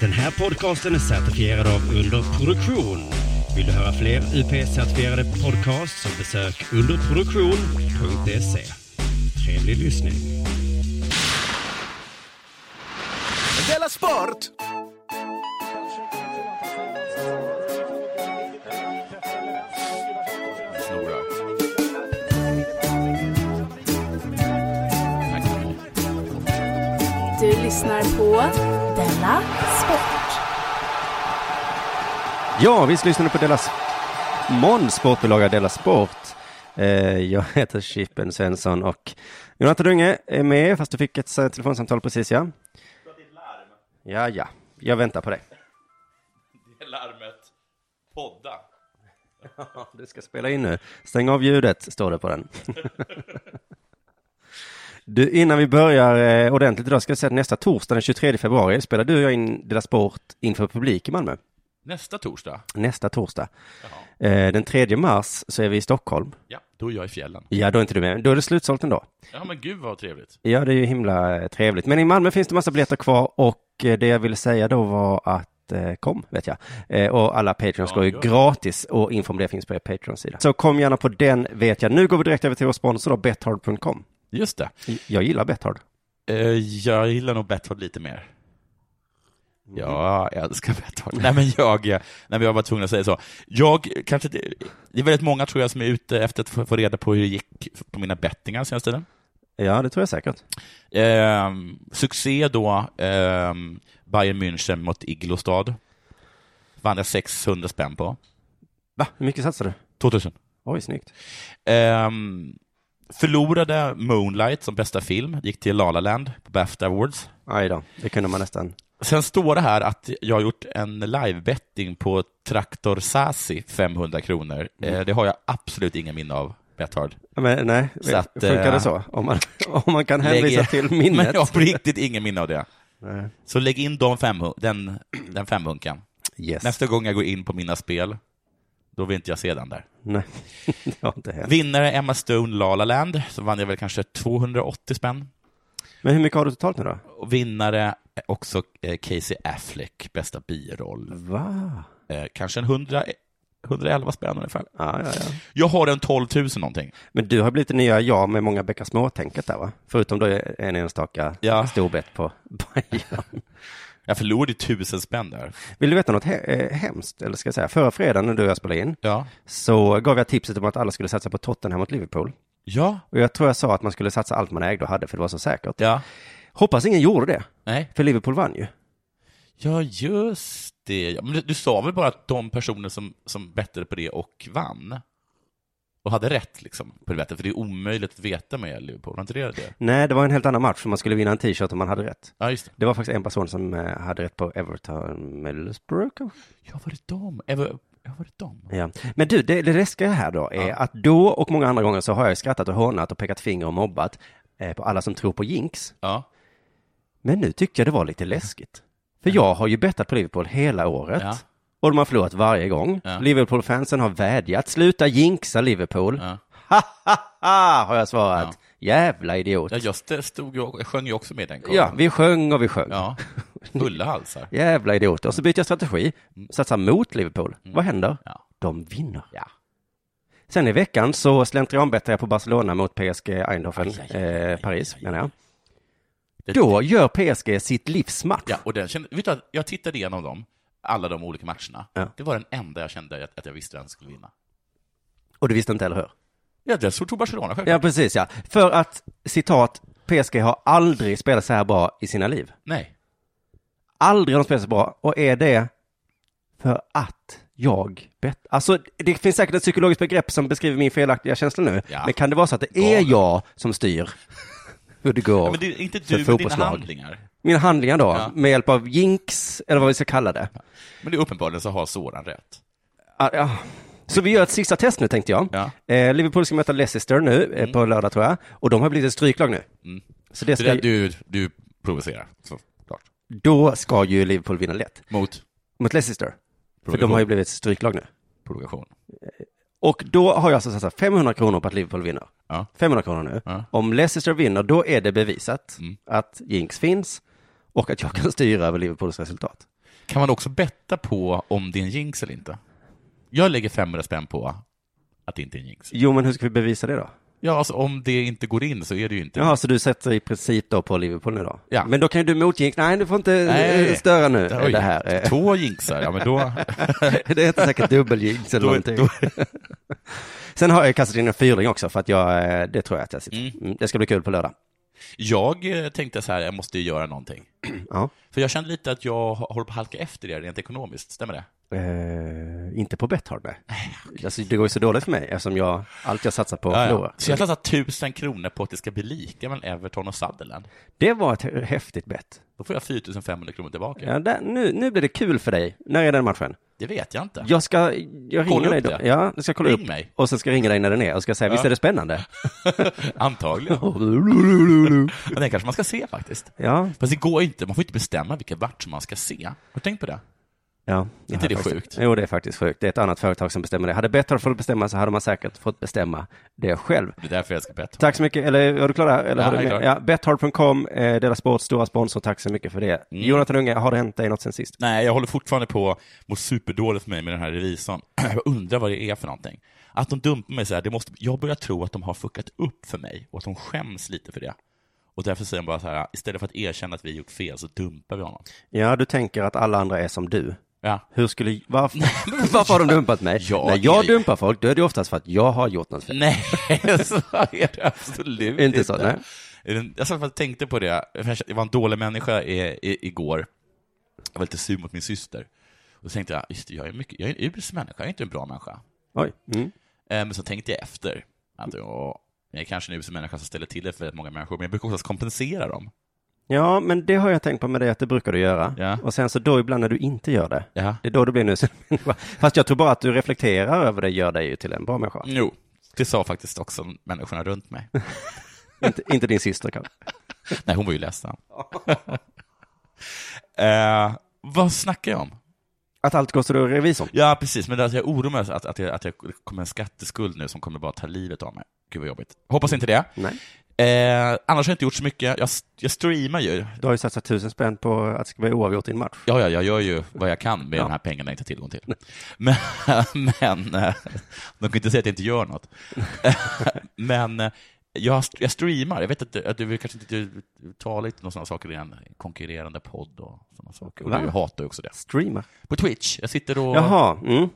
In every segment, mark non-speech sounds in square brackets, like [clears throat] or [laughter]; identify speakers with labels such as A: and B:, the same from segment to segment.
A: Den här podcasten är certifierad av Underproduktion. Vill du höra fler UP-certifierade podcasts så besök underproduktion.se. E. Trevlig lyssning.
B: Della Sport!
C: snorar.
D: Du lyssnar på Della Sport.
E: Ja, visst lyssnar du på Della S- Måns sportbilaga Della Sport. Eh, jag heter Chippen Svensson och Jonathan Unge är med, fast du fick ett eh, telefonsamtal precis ja. Ja, ja, jag väntar på dig.
C: Det är larmet. Podda.
E: Du ska spela in nu. Stäng av ljudet, står det
C: [laughs]
E: på den. Du, innan vi börjar eh, ordentligt idag ska jag säga att nästa torsdag den 23 februari spelar du och jag in Della Sport inför publik i Malmö.
C: Nästa torsdag,
E: Nästa torsdag. Eh, den 3 mars så är vi i Stockholm.
C: ja, då är jag i fjällen.
E: Ja, då är inte du med. Då är det slutsålt ändå.
C: Ja, men gud vad trevligt.
E: Ja, det är ju himla eh, trevligt. Men i Malmö finns det massa biljetter kvar och eh, det jag ville säga då var att eh, kom, vet jag. Eh, Och alla Patreons
C: Ja,
E: går ju
C: gör det.
E: gratis och info om det finns på er Patreon-sida. Så kom gärna på den, vet jag. Nu går vi direkt över till vår sponsor då, bethard.com.
C: Just det.
E: Jag gillar Bethard.
C: Eh, jag gillar nog Betthard lite mer. Mm. Ja, jag älskar Betthard. Nej, men jag, eh, nej, men jag var tvungen att säga så. Jag kanske, det, det är väldigt många tror jag som är ute efter att få få reda på hur det gick på mina bettingar senaste tiden.
E: Ja, det tror jag säkert.
C: Ehm, succé då, ehm, Bayern München mot Iglostad. Vann jag 600 spänn på.
E: Va? Hur mycket satsar du?
C: 2000.
E: Oj, snyggt.
C: Ehm, förlorade Moonlight som bästa film, gick till La La Land på Bafta Awards.
E: Aj då, det kunde man nästan.
C: Sen står det här att jag har gjort en livebetting på Traktor Sasi, 500 kronor. Eh, det har jag absolut ingen minne av, Bethard.
E: Ja, Men, nej,
C: Så att,
E: funkar det
C: eh,
E: så? Om man, [laughs] om man kan hänvisa
C: Lägg- [laughs]
E: till minnet.
C: Men jag har på riktigt ingen minne av det.
E: Nej.
C: Så lägg in de fem, den, den femhunkan.
E: Yes.
C: Nästa gång jag går in på mina spel, då vill inte jag se den där.
E: Nej, [laughs] det har inte hänt.
C: Vinnare Emma Stone La La Land, så vann jag väl kanske 280 spänn.
E: Men hur mycket har du totalt nu då?
C: Och vinnare är också eh, Casey Affleck, bästa biroll.
E: Va?
C: Eh, Kanske en 100, 111 spänn ungefär.
E: Ja, ja, ja.
C: Jag har en 12 000 någonting.
E: Men du har blivit det nya jag med många bäckar små-tänket där va? Förutom då en enstaka
C: Ja.
E: storbett på Bayern.
C: [laughs] Jag förlorade tusen spänn där.
E: Vill du veta något he- eh, hemskt? Eller ska jag säga, förra fredagen när du och jag spelade in
C: Ja.
E: så gav jag tipset om att alla skulle satsa på Tottenham mot Liverpool.
C: Ja.
E: Och jag tror jag sa att man skulle satsa allt man ägde och hade för det var så säkert.
C: Ja.
E: Hoppas ingen gjorde det,
C: Nej.
E: för Liverpool vann ju.
C: Ja, just det. Ja, Men du, du sa väl bara att de personer som, som bettade på det och vann och hade rätt liksom på det bettet, för det är omöjligt att veta med Liverpool. Var inte det det?
E: Nej, det var en helt annan match för man skulle vinna en t-shirt om man hade rätt.
C: Ja, just det.
E: Det var faktiskt en person som eh, hade rätt på Everton Middlesbrough kanske?
C: Ja, var det dem? Eh, var- Ja, var det dem?
E: Ja. Men du, det, det läskiga här då är att då och många andra gånger så har jag ju skrattat och hånat och pekat finger och mobbat eh, på alla som tror på jinx.
C: Ja.
E: Men nu tyckte jag det var lite läskigt. För jag har ju bettat på Liverpool hela året.
C: Ja.
E: Och de har förlorat varje gång.
C: Ja.
E: Liverpool-fansen har vädjat, sluta jinxa Liverpool.
C: Ja.
E: Ha, ha, ha, har jag svarat. Jävla idiot.
C: Ja, just det. Stod ju, jag sjöng ju också med i den kåren.
E: Ja, vi sjöng och vi sjöng.
C: ja. Fulla halsar.
E: Jävla idioter. Och så byter jag strategi, satsar mot Liverpool. Vad händer?
C: Mm. Ja.
E: De vinner.
C: Ja.
E: Sen i veckan så slentrianbettade jag på Barcelona mot PSG Eindhoven, eh, Paris, menar jag.
C: Det-
E: Då gör PSG sitt livsmatch.
C: Ja, och den kände, vet du, att jag tittade igenom dem, alla de olika matcherna.
E: Ja.
C: Det var den enda jag kände att, att jag visste vem som skulle vinna.
E: Och du visste inte, eller hur?
C: Ja, det tog Barcelona självklart.
E: Ja, precis ja. För att, citat, PSG har aldrig spelat så här bra i sina liv.
C: Nej.
E: Aldrig har de spelat så bra. Och är det för att jag bett... Alltså, det finns säkert ett psykologiskt begrepp som beskriver min felaktiga känsla nu.
C: Ja.
E: Men kan det vara så att det är
C: Galen.
E: jag som styr hur det går?
C: Ja, men det är inte
E: för
C: du med dina
E: fotbollslag?
C: handlingar.
E: Mina handlingar då,
C: Ja.
E: med hjälp av jinx, eller vad vi ska kalla det.
C: Men det är uppenbarligen så har Soran rätt.
E: Ah, ja. Så vi gör ett sista test nu tänkte jag.
C: Ja. Mm.
E: Eh, Liverpool ska möta Leicester nu eh, på lördag tror jag. Och de har blivit ett stryklag nu. Så det
C: Så
E: ska,
C: det, du, du provocerar, såklart.
E: då ska ju Liverpool vinna lätt.
C: Mot
E: Mot Leicester. För de
C: Provokation.
E: har ju blivit ett stryklag nu.
C: provokation.
E: Och då har jag alltså satsat 500 kronor på att Liverpool vinner.
C: Ja.
E: 500 kronor nu.
C: Ja. Mm.
E: Om Leicester vinner, då är det bevisat att jinx finns och att jag kan styra över Liverpools resultat.
C: Kan man också betta på om det är en jinx eller inte? Jag lägger 500 spänn på att det inte är en jinx.
E: Jo, men hur ska vi bevisa det då?
C: Ja, alltså om det inte går in så är det ju inte
E: Jaha, så du sätter i princip då på Liverpool nu då?
C: Ja.
E: Men då kan ju du motjinka, nej du får inte eh, störa nu
C: Oj,
E: det här. eh.
C: [laughs] Två jinxar, ja men då...
E: [laughs]
C: [laughs]
E: det heter säkert dubbeljinx eller
C: Då-
E: någonting.
C: då-
E: [laughs] Sen har jag kastat in en fyrling också för att jag, eh, det tror jag att jag sitter. Mm, det ska bli kul på lördag.
C: Jag eh, tänkte så här, jag måste ju göra någonting.
E: Ja.
C: För jag kände lite att jag håller på att halka efter det rent ekonomiskt, stämmer det?
E: Eh, inte på Betthard nej. Alltså, det går ju så dåligt för mig eftersom jag, allt jag satsar på förlorar.
C: Så jag satsar tusen kronor på att det ska bli lika mellan Everton och Sunderland.
E: Det var ett hä- häftigt bett.
C: Då får jag 4500 kronor tillbaka.
E: Ja, där, nu, nu blir det kul för dig. När är den matchen?
C: Det vet jag inte.
E: Jag ska, jag
C: Kolla
E: ringer dig
C: upp
E: då.
C: det.
E: Ja, jag ska kolla
C: Ring
E: upp.
C: mig.
E: Och sen ska jag ringa dig när den är och ska säga, visst är det spännande?
C: [laughs] Antagligen. Men den kanske man ska se faktiskt.
E: Ja,
C: Fast det går inte, man får inte bestämma vilka matcher man ska se. Har du tänkt på det?
E: ja.
C: Inte det
E: Ja, faktiskt.
C: sjukt?
E: Jo, det är faktiskt sjukt. Det är ett annat företag som bestämmer det. Hade Betthard fått bestämma så hade man säkert fått bestämma det själv.
C: Det är därför jag ska bett.
E: Tack så mycket. Eller är du klar där? Eller
C: Ja,
E: har du
C: jag är
E: mer?
C: klar.
E: ja, Betthard.com, eh, Dela Sports stora sponsor. Tack så mycket för det.
C: Mm.
E: Jonathan Unge, har det hänt dig något sen sist?
C: Nej, jag håller fortfarande på mot superdåligt för mig med den här revisorn. [clears throat] Jag undrar vad det är för någonting. Att de dumpar mig så här, det måste, jag börjar tro att de har fuckat upp för mig och att de skäms lite för det. Och därför säger de bara så här, istället för att erkänna att vi gjort fel så dumpar vi honom.
E: Ja, du tänker att alla andra är som du.
C: Ja. [laughs]
E: Hur skulle, varför, [laughs] varför har de dumpat mig?
C: Ja,
E: När jag
C: det-
E: dumpar folk, då är det oftast för att jag har gjort något fel.
C: Nej, så är det absolut
E: Inte så, nej.
C: nej. Jag satt och tänkte på det, för jag var en dålig människa i, i, igår. Jag var lite sur mot min syster. Och så tänkte jag, just det, jag är, mycket, jag är en usel människa, jag är inte en bra människa.
E: Oj. Mm.
C: Eh, Men så tänkte jag efter. Att åh, jag är kanske en usel människa som ställer till det för väldigt många människor, men jag brukar oftast kompensera dem.
E: Ja, men det har jag tänkt på med dig att det brukar du göra.
C: Ja.
E: Och sen så då ibland när du inte gör det,
C: Ja.
E: det är då du blir en usel [laughs] människa. Fast jag tror bara att du reflekterar över det gör dig ju till en bra människa.
C: Jo, det sa faktiskt också människorna runt mig.
E: inte, inte din syster kanske.
C: Nej, hon var ju ledsen. [laughs] eh, vad snackar jag om?
E: Att allt går så då revisorn.
C: Ja, precis, men det är att jag oroar mig att, att, jag, att jag kommer en skatteskuld nu som kommer bara ta livet av mig. Gud vad jobbigt. Hoppas inte det.
E: Nej.
C: Eh, annars har jag inte gjort så mycket. Jag, jag streamar ju.
E: Du har ju satsat tusen spänn på att det ska vara oavgjort i en match.
C: Ja, ja, jag gör ju vad jag kan med de här pengarna jag inte har tillgång till. Men, [laughs] men eh, de kan inte säga att jag inte gör något. [laughs] Men eh, jag, jag streamar. Jag vet att, du- att du vill kanske inte tala lite om sådana saker i en konkurrerande podd och sådana saker. Och
E: Va?
C: du hatar ju också det.
E: Streamer.
C: På Twitch. Jag sitter och...
E: Jaha, mm.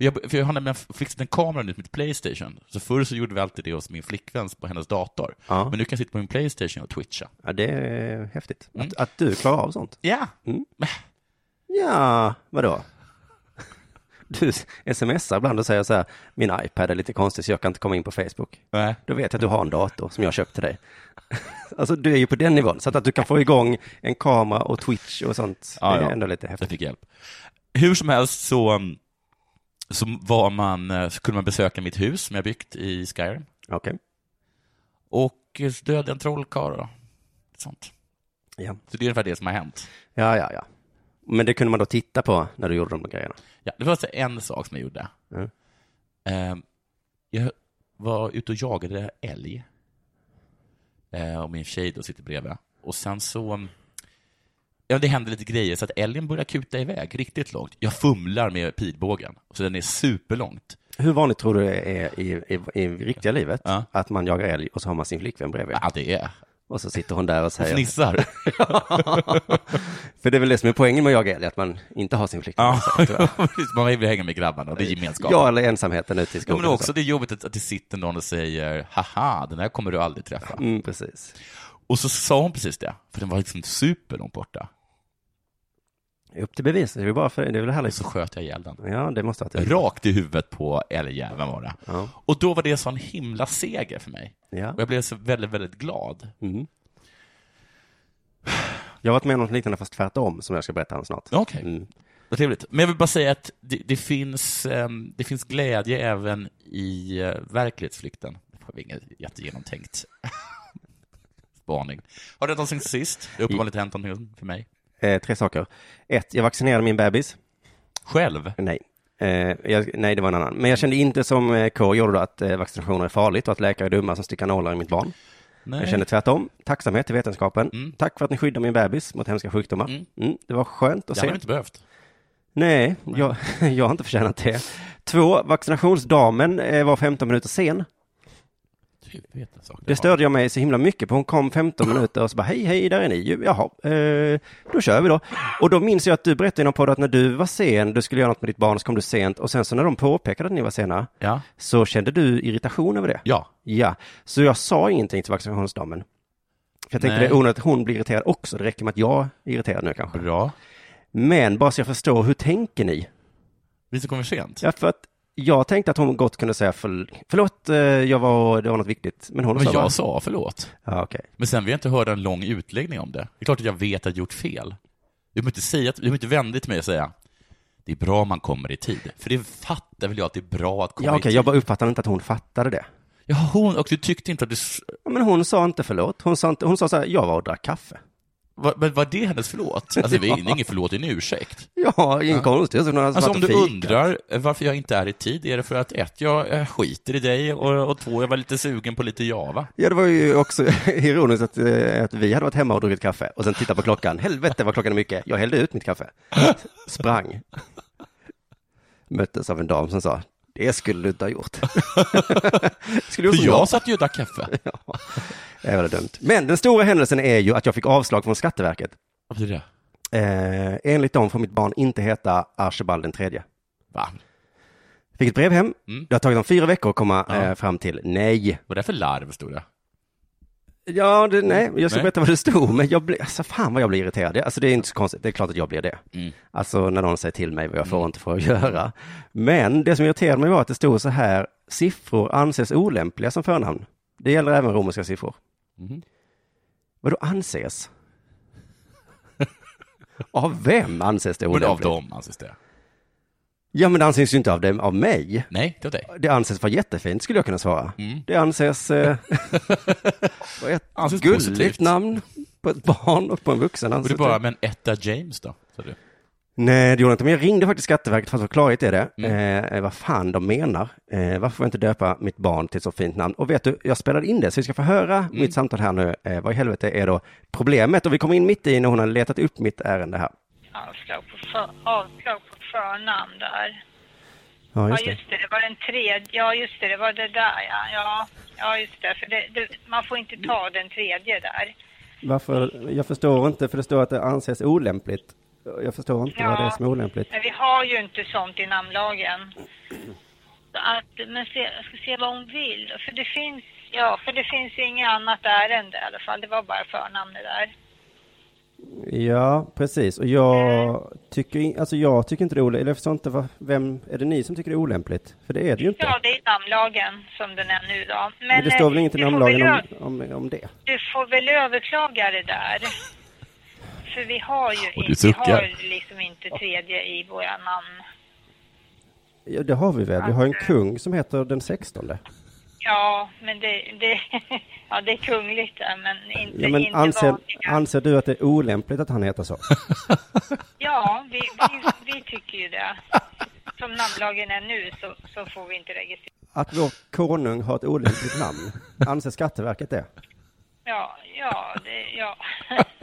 C: Jag, för jag har nämligen fixat en kamera nu till mitt Playstation. Så förr så gjorde vi alltid det hos min flickvän på hennes dator.
E: Ja.
C: Men nu kan jag sitta på min Playstation och twitcha.
E: Ja, det är häftigt.
C: Mm.
E: Att, att du klarar av sånt.
C: Ja.
E: Ja, vadå? [laughs] Du smsar ibland och säger så här, min iPad är lite konstig så jag kan inte komma in på Facebook.
C: Nej.
E: Då vet jag att du har en dator som jag köpte till dig. [laughs] Alltså du är ju på den nivån, så att, att du kan få igång en kamera och Twitch och sånt,
C: Ja,
E: det är
C: ja.
E: ändå lite
C: Jag
E: häftigt.
C: fick hjälp. Hur som helst så, um, så, var man, eh, så kunde man besöka mitt hus som jag byggt i Skyrim.
E: Okej.
C: Och eh, döda en trollkarl och sånt.
E: Ja.
C: Så det är ungefär det som har hänt.
E: ja, ja, ja. Men det kunde man då titta på när du gjorde de där grejerna.
C: Ja, det var alltså en sak som jag gjorde.
E: Mm.
C: Eh, Jag var ute och jagade älg. Eh, Och min tjej då sitter bredvid. Och sen så... Ja, det hände lite grejer, så att älgen börjar kuta iväg riktigt långt. Jag fumlar med pilbågen, så den är superlångt.
E: Hur vanligt tror du det är i, i, i riktiga livet
C: Ja. Ah,
E: att man jagar älg och så har man sin flickvän bredvid?
C: Ja, det är...
E: Och så sitter hon där och säger...
C: Fnissar.
E: För det är väl det som är poängen med att jaga älg, att man inte har sin
C: [laughs] [laughs]
E: flickvän.
C: Ja,
E: Så, tror jag.
C: precis. man vill hänga med grabbarna och det är gemenskapen.
E: ja, eller ensamheten ute i
C: Ja,
E: skogen.
C: men
E: och
C: också det är jobbigt att, att det sitter någon och säger ”haha, den här kommer du aldrig träffa”.
E: så. Mm, precis.
C: Och så sa hon precis det, för den var liksom superlångt borta.
E: Upp till bevis, det är väl bara för det, det är väl
C: Och
E: härligt.
C: så sköt jag ihjäl den.
E: Ja, det måste vara
C: Rakt i huvudet på älgjäveln var det.
E: Ja.
C: Och då var det en sån himla seger för mig.
E: Ja.
C: Och jag blev så väldigt, väldigt glad.
E: Mm. Jag har varit med om något liknande fast tvärtom som jag ska berätta om snart.
C: Okej,
E: Mm.
C: vad trevligt. Men jag vill bara säga att det, det, finns, ehm, det finns glädje även i eh, verklighetsflykten. Det var inget jättegenomtänkt [laughs] spaning. Har det hänt någonting sen sist? Det har uppenbarligen hänt någonting för mig.
E: Eh, tre saker. Ett, jag vaccinerade min bebis.
C: Själv?
E: Nej. Eh, jag, nej, det var en annan. Men jag kände inte som eh, K gjorde då att eh, vaccinationer är farligt och att läkare är dumma som sticker nålar i mitt barn.
C: Nej.
E: Jag kände tvärtom. Tacksamhet till vetenskapen.
C: Mm.
E: Tack för att ni skyddar min bebis mot hemska sjukdomar. Mm.
C: Mm.
E: det var skönt att
C: det hade
E: se.
C: vi inte behövt.
E: Nej, jag, [laughs] jag har inte förtjänat det. Två, vaccinationsdamen eh, var 15 minuter sen. Det störde jag mig så himla mycket på. Hon kom 15 minuter och så bara hej, hej, där är ni ju. Jaha, eh, då kör vi då. Och då minns jag att du berättade i någon podd att när du var sen, du skulle göra något med ditt barn, så kom du sent. Och sen så när de påpekade att ni var sena,
C: Ja.
E: så kände du irritation över det.
C: Ja.
E: Ja, så jag sa ingenting till vaccinationsdamen. För jag tänkte
C: Nej.
E: det är onödigt att hon blir irriterad också. Det räcker med att jag är irriterad nu kanske.
C: Bra.
E: Men bara så jag förstår, hur tänker ni?
C: Vi som kommer sent.
E: Ja, för att jag tänkte att hon gott kunde säga för, förlåt, eh, jag var, det var något viktigt. Men hon
C: Men
E: sa bara,
C: jag sa förlåt.
E: ja, okej.
C: Men sen vill jag inte höra en lång utläggning om det. Det är klart att jag vet att jag gjort fel. Du behöver inte, säga, du behöver inte vända till mig och säga det är bra om man kommer i tid. För det fattar väl jag att det är bra att komma
E: Ja,
C: i
E: okej,
C: tid.
E: jag bara uppfattade inte att hon fattade det.
C: Ja, hon, och du tyckte inte att du... s-
E: Ja, Men hon sa inte förlåt. Hon sa, inte, hon sa så här, jag var och drack kaffe. [laughs]
C: Vad- Men var det hennes förlåt? Alltså, det är inget förlåt, det är en ursäkt.
E: Ja, inget konstigt. Hon hade
C: Alltså
E: varit
C: om
E: och
C: du
E: fikat.
C: undrar eh, varför jag inte är i tid, är det för att ett, jag eh, skiter i dig och, och två, jag var lite sugen på lite Java.
E: Ja, det var ju också [laughs] ironiskt att, eh, att vi hade varit hemma och druckit kaffe och sen tittat på klockan. Helvete vad klockan är mycket. Jag hällde ut mitt kaffe. Sprang. Möttes av en dam som sa, det skulle du inte ha gjort. [laughs] skulle
C: För
E: du gjort som jag?
C: jag satt ju och drack kaffe.
E: [laughs] Ja, det var dumt. Men den stora händelsen är ju att jag fick avslag från Skatteverket.
C: Vad betyder det?
E: Eh, enligt dem får mitt barn inte heta Archibald den tredje.
C: Va?
E: Fick ett brev hem.
C: Mm.
E: Det har tagit dem fyra veckor att komma
C: Ja.
E: eh, fram till nej.
C: Vad är det för larv, stod det?
E: Ja, det, nej, jag ska
C: Nej.
E: berätta vad det stod, men jag blir, alltså fan vad jag blir irriterad. Det- Alltså det är inte så konstigt, det är klart att jag blir det.
C: Mm.
E: Alltså när någon säger till mig vad jag får och inte får göra. Men det som irriterade mig var att det stod så här, siffror anses olämpliga som förnamn. Det gäller även romerska siffror.
C: Mhm.
E: Vadå anses? [laughs] av vem anses det
C: Men av
E: olämpligt?
C: dem anses det.
E: Ja, men det anses ju inte av dem, av mig.
C: Nej, det var dig.
E: Det anses vara jättefint skulle jag kunna svara.
C: Mm.
E: Det
C: [laughs]
E: anses eh, vara ett
C: Anses
E: gulligt
C: positivt.
E: namn på ett barn och på en vuxen.
C: Och
E: Anses
C: det bara, men etta James då? sa du.
E: Nej, det gjorde jag inte. Men jag ringde faktiskt Skatteverket för att få klarhet i det.
C: Mm.
E: Eh, vad fan de menar. Eh, varför får jag inte döpa mitt barn till ett så fint namn? Och vet du, jag spelade in det, så vi ska få höra
C: Mm.
E: mitt samtal här nu. Eh, vad i helvete är då problemet? Och vi kommer in mitt i när hon har letat upp mitt ärende här.
F: Avslag på, för, avslag på förnamn där.
E: Ja, just
F: ja,
E: det.
F: just det. Det var den tredje. Ja, just det. Det var det där, ja. Ja, ja just det. För det, det, man får inte ta den tredje där.
E: Varför? Jag förstår inte, för det står att det anses olämpligt. Jag förstår inte vad det är som är olämpligt.
F: Men vi har ju inte sånt i namnlagen. Så att, men se, jag ska se vad hon vill. För det finns, ja, för det finns inget annat ärende i alla fall. Det var bara förnamnet där.
E: Ja, precis. Och jag tycker, in- alltså jag tycker inte det är olämpligt. Eller jag förstår inte, vad, vem, är det ni som tycker det är olämpligt? För det är det ju inte.
F: Ja, det är namnlagen som den är nu då. Men,
E: Men det står väl
F: eh,
E: inget i
F: du får
E: namnlagen
F: väl
E: om,
F: göra-
E: om, om det?
F: Du får väl överklaga det där. För vi har ju
C: Och du
F: inte, vi har
C: suckar.
F: liksom inte tredje i våra namn.
E: Ja, det har vi väl. Vi har en kung som heter den sextonde.
F: Alltså, Ja, men det, det, [laughs] ja, det är kungligt där, men inte,
E: Ja, men
F: inte
E: anser,
F: vanliga.
E: anser du att det är olämpligt att han heter så?
F: Ja, vi, vi, vi tycker ju det. Som namnlagen är nu så, så får vi inte registrera.
E: Att vår konung har ett olämpligt namn? Anser Skatteverket det?
F: Ja, ja, det, ja. [laughs]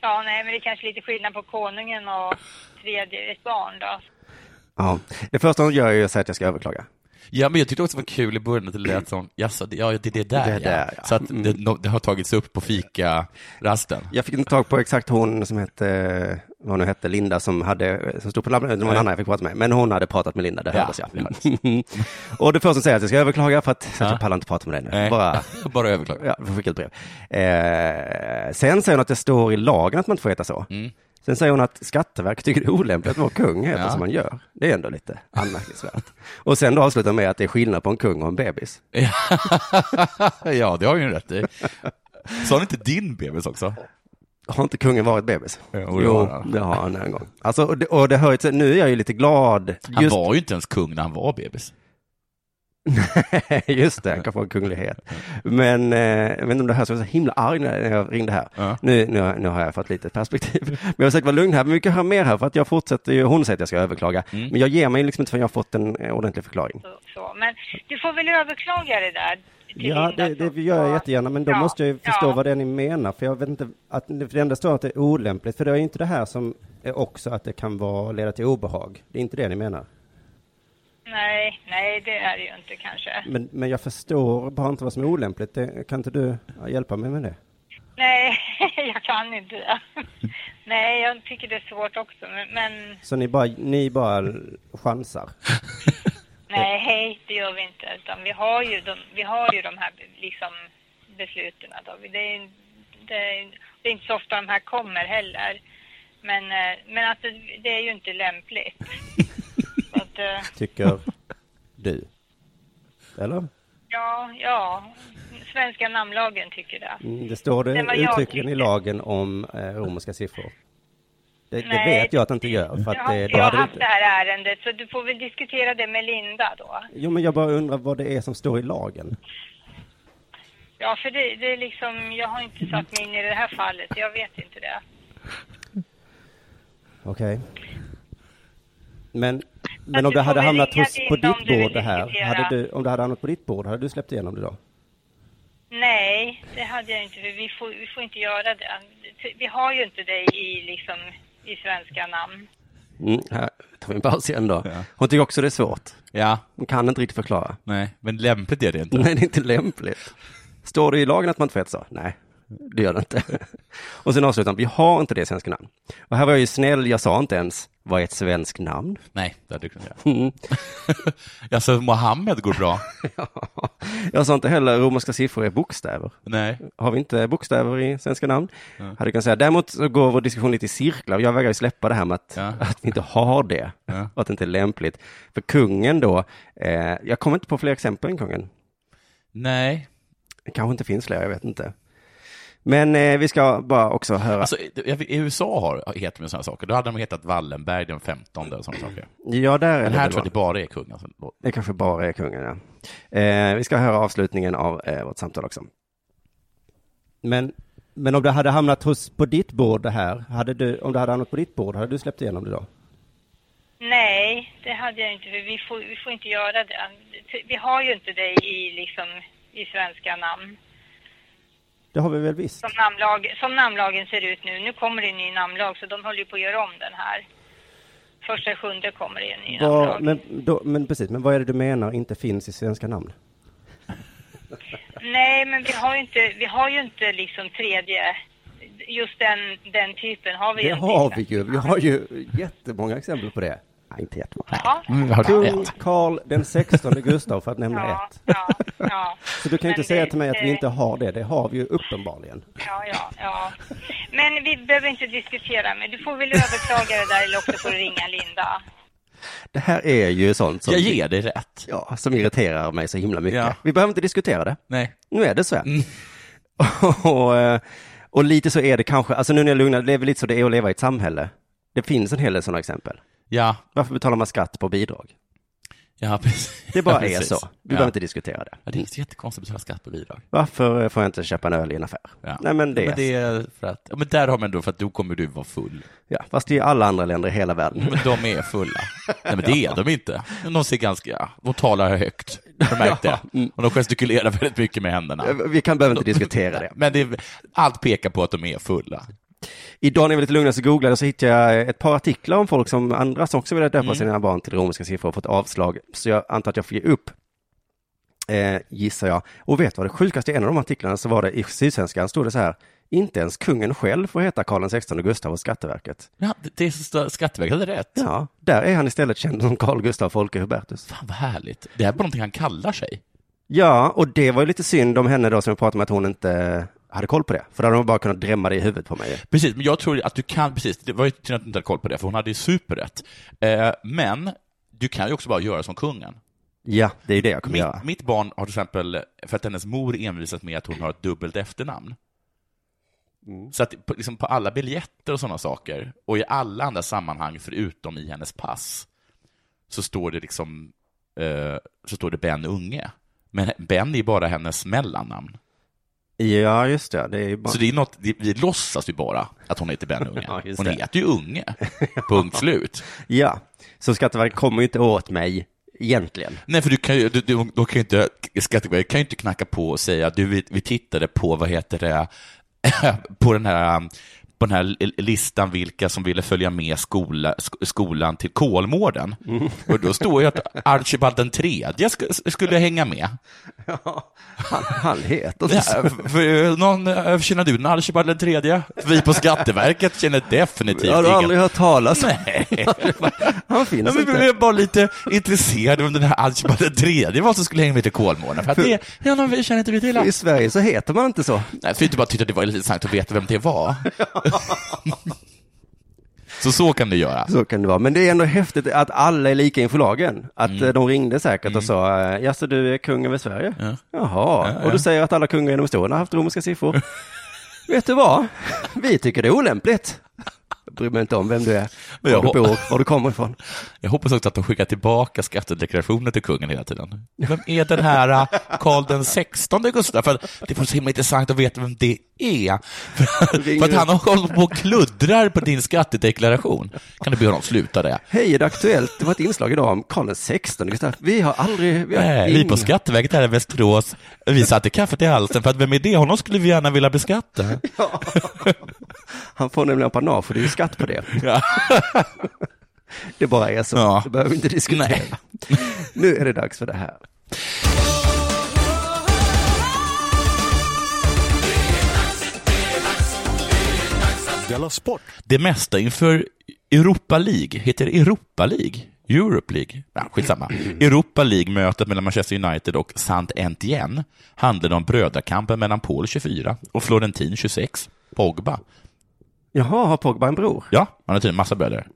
F: Ja, nej, men det är kanske lite skillnad på konungen och tredje, ett barn då.
E: Ja, det första hon gör är att säga att jag ska överklaga.
C: Ja, men jag tyckte också det var kul i början att det lät som, [clears throat] jaså, det, ja, det är det där,
E: Det är där, ja.
C: ja. Mm. Så att det, no, det har tagits upp på fika-rasten.
E: Jag fick inte tag på exakt hon som hette, vad hon nu hette, Linda, som, hade, som stod på namnet, det var en annan jag fick prata med, men hon hade pratat med Linda, det
C: Ja,
E: hördes ja. [laughs]
C: det
E: och det första hon säger är att jag ska överklaga för att, så att jag
C: Ja.
E: pallar inte prata med dig nu.
C: Nej. [laughs]
E: Bara,
C: Bara överklaga.
E: ja, jag skickade ett brev. Eh, sen säger hon att det står i lagen att man inte får heta så. Sen säger hon att Skatteverket tycker det är olämpligt att vår kung heter
C: Mm. Ja.
E: som man gör. Det är ändå lite anmärkningsvärt. och sen då avslutar hon med att det är skillnad på en kung och en bebis.
C: ja, det har ju rätt i. Sa hon inte din bebis också?
E: Har inte kungen varit bebis?
C: Jo, det har han.
E: det har han en gång. Alltså, och det, och det hör ju till, nu är jag ju lite glad.
C: Han var ju inte ens kung när han var bebis.
E: Just det, [laughs] han kan få en kunglighet. Men, eh, jag vet inte om det här, så jag var så himla arg när jag ringde här.
C: Ja.
E: Nu, nu, nu har jag fått
C: [laughs]
E: lite perspektiv. Men jag har sagt vara lugn här, men vi kan höra mer här, för att jag fortsätter ju, hon säger att jag ska överklaga.
C: Mm.
E: Men jag ger mig liksom inte förrän jag har fått en eh, ordentlig förklaring.
F: Så, så. Men du får väl överklaga det där till
E: Ja,
F: Linda
E: det, det
F: som
E: gör jag
F: sa-
E: jättegärna, men då
F: Ja,
E: måste jag ju förstå
F: ja.
E: vad det är ni menar, för jag vet inte, att, för det enda står att det är olämpligt, för det är ju inte det här som är också att det kan vara, leda till obehag. Det är inte det ni menar.
F: Nej, nej, det är det ju inte kanske.
E: Men, men jag förstår bara inte vad som är olämpligt. Det, kan inte du hjälpa mig med det?
F: Nej, [laughs] jag kan inte [laughs] det. Nej, jag tycker det är svårt också, men, men
E: Så ni bara, ni bara chansar?
F: nej, hej, det gör vi inte. Utan vi har ju de, vi har ju de här liksom, besluten. Då. Det, är, det, är, det är inte så ofta de här kommer heller. Men, eh, men alltså, det är ju
E: [laughs]
F: inte lämpligt. Så att, eh,
E: Tycker du? Eller?
F: ja, ja, svenska namnlagen tycker det.
E: Mm, Det står det
F: Det var jag
E: uttryckligen i
F: tycker.
E: lagen om eh, romerska siffror. Det, det
F: Nej.
E: vet jag att det inte gör, för
F: jag
E: att
F: har,
E: det,
F: jag har
E: hade det
F: haft det
E: inte...
F: här ärendet, så du får väl diskutera det med Linda då.
E: Jo, men jag bara undrar vad det är som står i lagen.
F: Ja, för det, det är liksom, jag har inte satt mig in i det här fallet, jag vet inte det.
E: Okej. Men, men
F: du
E: om det
F: får
E: hade
F: väl
E: hamnat
F: ringa
E: hos,
F: till
E: på
F: dem
E: ditt
F: du vill
E: bord det här,
F: diskutera.
E: hade du, om det hade hamnat på ditt bord, hade du släppt igenom det då?
F: Nej, det hade jag inte, för vi får, vi får inte göra det. Vi har ju inte det i, liksom, i svenska namn.
E: Mm, här tar vi en paus igen då. Hon tycker också det är svårt.
C: Ja,
E: Hon kan inte riktigt förklara.
C: nej, men lämpligt är det inte.
E: [laughs] Nej, det är inte lämpligt. Står det i lagen att man inte får heta så? Nej, det gör det inte. [laughs] Och sen avslutar han, vi har inte det i svenska namn. Och här var jag ju snäll, jag sa inte ens, vad är ett svenskt namn? [laughs]
C: Nej, det hade du kunnat [laughs] göra. alltså, Mohammed går bra.
E: Jag sa inte heller, romerska siffror är bokstäver.
C: Nej.
E: Har vi inte bokstäver i svenska namn? Hade du kunnat säga. Däremot så går vår diskussion lite i cirklar. Jag vägrar ju släppa det här med att,
C: Ja.
E: att vi inte har det.
C: Ja.
E: Och att det inte är lämpligt. För kungen då, eh, jag kommer inte på fler exempel än kungen.
C: Nej.
E: Det kanske inte finns fler, jag vet inte. Men eh, vi ska bara också höra.
C: Alltså, i- i USA har, heter de sådana saker. Då hade de hetat Wallenberg den 15 och sådana saker.
E: ja, där är
C: Men
E: det
C: här
E: väl
C: tror jag
E: va?
C: det bara är kung. Alltså.
E: Det kanske bara är kungen, ja. Eh, vi ska höra avslutningen av eh, vårt samtal också. Men, men om det hade hamnat hos, på ditt bord det här, hade du, om det hade hamnat på ditt bord, hade du släppt igenom det då?
F: Nej, det hade jag inte, för vi får, vi får inte göra det. Vi har ju inte det i, liksom, i svenska namn.
E: Det har vi väl visst?
F: Som, namnlag, som namnlagen ser ut nu, nu kommer det en ny namnlag, så de håller ju på att göra om den här. Första sjunde kommer det en ny
E: Vad,
F: namnlag.
E: men, då, men precis, men vad är det du menar inte finns i svenska namn?
F: Nej, men vi har ju inte, vi har ju inte liksom tredje, just den, den typen har vi ju
E: Det
F: inte.
E: har vi ju, vi har ju jättemånga exempel på det. Nej, inte jättemånga.
F: Ja,
E: Kung Karl den 16 Gustav, för att nämna
F: ja,
E: ett.
F: ja, ja.
E: [laughs] Så du kan ju inte
F: Men det-
E: säga till mig att vi
F: det-
E: inte har det, det har vi ju uppenbarligen.
F: Ja, ja, ja. Men vi behöver inte diskutera, men du får väl överklaga det där eller också får du ringa Linda.
E: Det här är ju sånt som,
C: Jag ger dig rätt.
E: ja, som irriterar mig så himla mycket.
C: Ja. Mm.
E: Vi behöver inte diskutera det,
C: Nej.
E: nu är det så. här. [laughs] och, eh, och lite så är det kanske, alltså nu när jag lugnar, det är väl lite så det är att leva i ett samhälle. Det finns en hel del sådana exempel.
C: Ja,
E: Varför betalar man skatt på bidrag?
C: ja [laughs] precis.
E: Det bara
C: ja,
E: är
C: precis.
E: så. Vi
C: ja.
E: behöver inte diskutera det.
C: Ja, det är inte så jättekonstigt att betala skatt på bidrag.
E: Varför eh, får jag inte köpa en öl i en affär?
C: Ja.
E: Nej, men det,
C: men det är för att, ja, men där har man då, för att då kommer du vara full.
E: Ja, fast det är alla andra länder i hela världen.
C: [laughs] Men de är fulla. Nej, men det är de inte. Men De ser ganska, ja, de talar högt.
E: [laughs]
C: Har Du märkt det?
E: Mm.
C: Och de gestikulerar väldigt mycket med händerna.
E: Vi kan behöver inte diskutera det.
C: Men det, är- allt pekar på att de är fulla.
E: Idag när jag var lite lugnare så googlade jag och så hittade jag ett par artiklar om folk som andra som också ville döpa sina barn till romerska siffror och fått avslag. Så jag antar att jag får ge upp. Eh, gissar jag. Och vet du vad det sjukaste är? I en av de artiklarna så var det i Sydsvenskan stod det så här. Inte ens kungen själv får heta Karl XVI Gustav hos Skatteverket.
C: Ja, det- det är så stö- Skatteverket hade rätt.
E: Ja, där är han istället känd som Carl Gustaf Folke Hubertus.
C: Fan vad härligt. Det här är bara någonting han kallar sig.
E: Ja, och det var ju lite synd om henne då som jag pratade med att hon inte hade koll på det. För då hade hon bara kunnat drämma det i huvudet på mig.
C: Precis, men jag tror att du kan, precis, det var ju synd att du inte hade koll på det, för hon hade ju superrätt. Eh, men du kan ju också bara göra som kungen.
E: Ja, det är ju det jag kommer
C: Mitt,
E: göra.
C: mitt barn har till exempel, för att hennes mor envisas med att hon har ett dubbelt efternamn. Så att på, liksom på alla biljetter och sådana saker, och i alla andra sammanhang förutom i hennes pass, så står det liksom, eh, så står det Ben Unge. Men Ben är ju bara hennes mellannamn.
E: Ja, just det. Det är ju bara...
C: Så det är något, det, vi låtsas ju bara att hon heter Ben Unge.
E: [laughs] Ja, just
C: hon
E: det. [laughs]
C: heter ju Unge, punkt slut.
E: Ja, så Skatteverket kommer ju inte åt mig
C: [laughs]
E: egentligen.
C: Nej, för du kan ju, du, du, då kan ju inte, Skatteverket kan ju inte knacka på och säga, du, vi, vi tittade på, vad heter det, [laughs] på den här um, på den här listan vilka som ville följa med skola, sk- skolan till Kolmården.
E: Mm.
C: Och då står ju att Archibald den tredje sk- skulle hänga
E: [laughs]
C: med.
E: Ja, han, han heter
C: Ja,
E: så.
C: för, eh, någon, eh, känner du den Archibald den tredje? Vi på Skatteverket känner definitivt
E: Jag har du aldrig hört talas om.
C: [laughs] Nej.
E: Han finns
C: Ja, men jag
E: inte.
C: är bara lite intresserad om den här Archibald den tredje var som skulle hänga med till Kolmården. För att det, det är någon vi känner inte vi till.
E: I Sverige så heter man inte så.
C: Nej, för inte bara tyckte att det var lite intressant att veta vem det [laughs] var. så så kan du göra.
E: Så kan det vara. Men det är ändå häftigt att alla är lika inför lagen. Att
C: Mm.
E: eh, de ringde säkert och sa, eh, jaså du är kung över Sverige?
C: Ja.
E: Jaha,
C: Ja,
E: och
C: ja.
E: du säger att alla kungar genom historien har haft
C: [laughs]
E: romerska siffror. Vet du vad? Vi tycker det är olämpligt. Jag bryr mig inte om vem du är,
C: Men
E: var
C: jag
E: du
C: ho-
E: bor, var du kommer ifrån.
C: Jag hoppas också att de skickar tillbaka skattedeklarationer till kungen hela tiden. Vem är den här eh, Karl den sextonde Gustaf? För att det vore så himla intressant att veta vem det är. För, för att han har hållit på och kluddrar på din skattedeklaration. Kan du be honom sluta det?
E: Hej, är det aktuellt? Det var ett inslag idag om Karl XVI. Gustav. Vi har aldrig... Vi, har
C: Nej, Eh, vi
E: ingen-
C: på Skatteverket här i Västerås, vi satte kaffet i halsen för att vem är det? Honom skulle vi gärna vilja beskatta.
E: Ja. Han får nämligen panage, för det är ju skatt på det.
C: Ja.
E: Det bara är så.
C: Ja.
E: Det behöver vi inte diskutera.
C: Nej.
E: Nu är det dags för det här.
B: Della Sport!
C: Det mesta inför Europa League heter Europa League. Europe League, ja, skitsamma. Europa League-mötet mellan Manchester United och Saint-Étienne handlade om brödrakampen mellan Paul 24 och Florentin 26, Pogba.
E: Jaha, har Pogba en bror?
C: Ja, han har tydligen massa bröder.